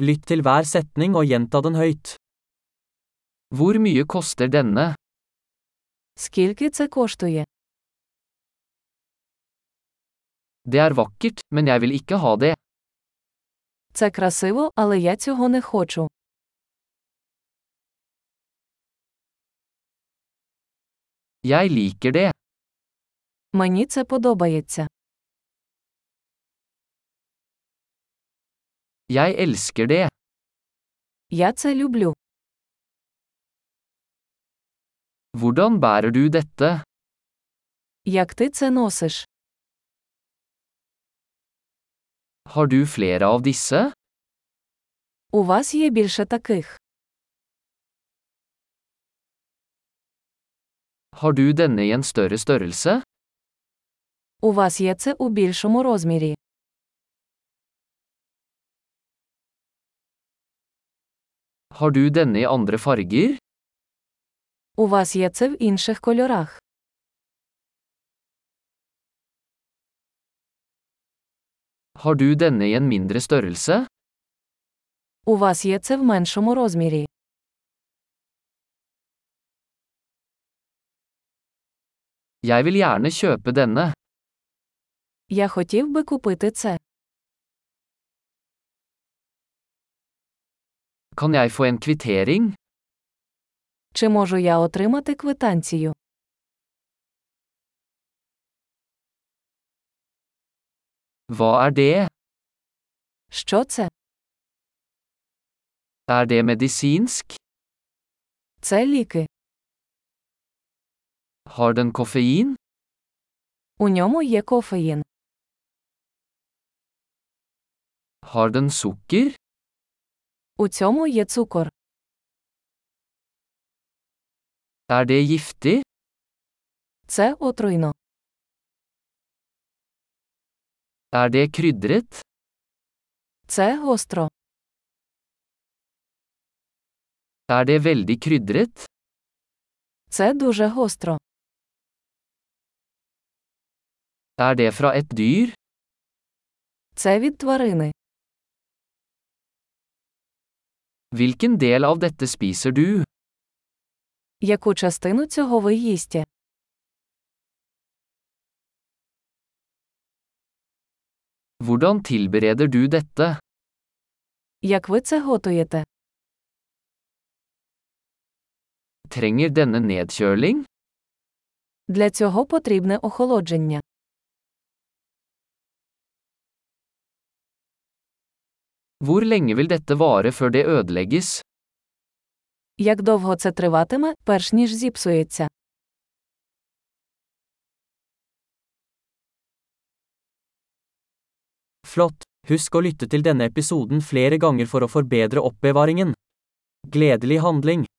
Lytt til hver setning og gjenta den høyt. Hvor mye koster denne? Скільки це коштує? Det er vakkert, men jeg vil ikke ha det. Це красиво, але я цього не хочу. Jeg liker det. Мені це подобається. Jeg elsker det. Я це люблю. Hvordan bærer du dette? Як ти це носиш? Har du flere av disse? У вас є більше таких. Har du denne i en større størrelse? У вас є це у більшому розмірі. Har du denne i andre farger? У вас є це в інших кольорах. Har du denne i en mindre størrelse? У вас є це в меншому розмірі. Jeg vil gjerne kjøpe denne. Я хотів би купити це. Kan jeg få en kvittering? Чи можу я отримати квитанцію? Hva er det? Що це? Er det medisinsk? Це ліки. Har den koffein? У ньому є кофеїн. Har den sukker? У цьому є цукор. Er det giftig? Це отруйно. Er det krydret? Це гостро. Er det veldig krydret? Це дуже гостро. Er det fra et dyr? Це від тварини. Hvilken del av dette spiser du? Яку частину цього ви їсте? Hvordan tilbereder du dette? Як ви це готуєте? Trenger denne nedkjøling? Для цього потрібне охолодження. Hvor lenge vil dette vare før det ødelegges? Як довго це триватиме, перш ніж зіпсується? Flott! Husk å lytte til denne episoden flere ganger for å forbedre oppbevaringen. Gledelig handling!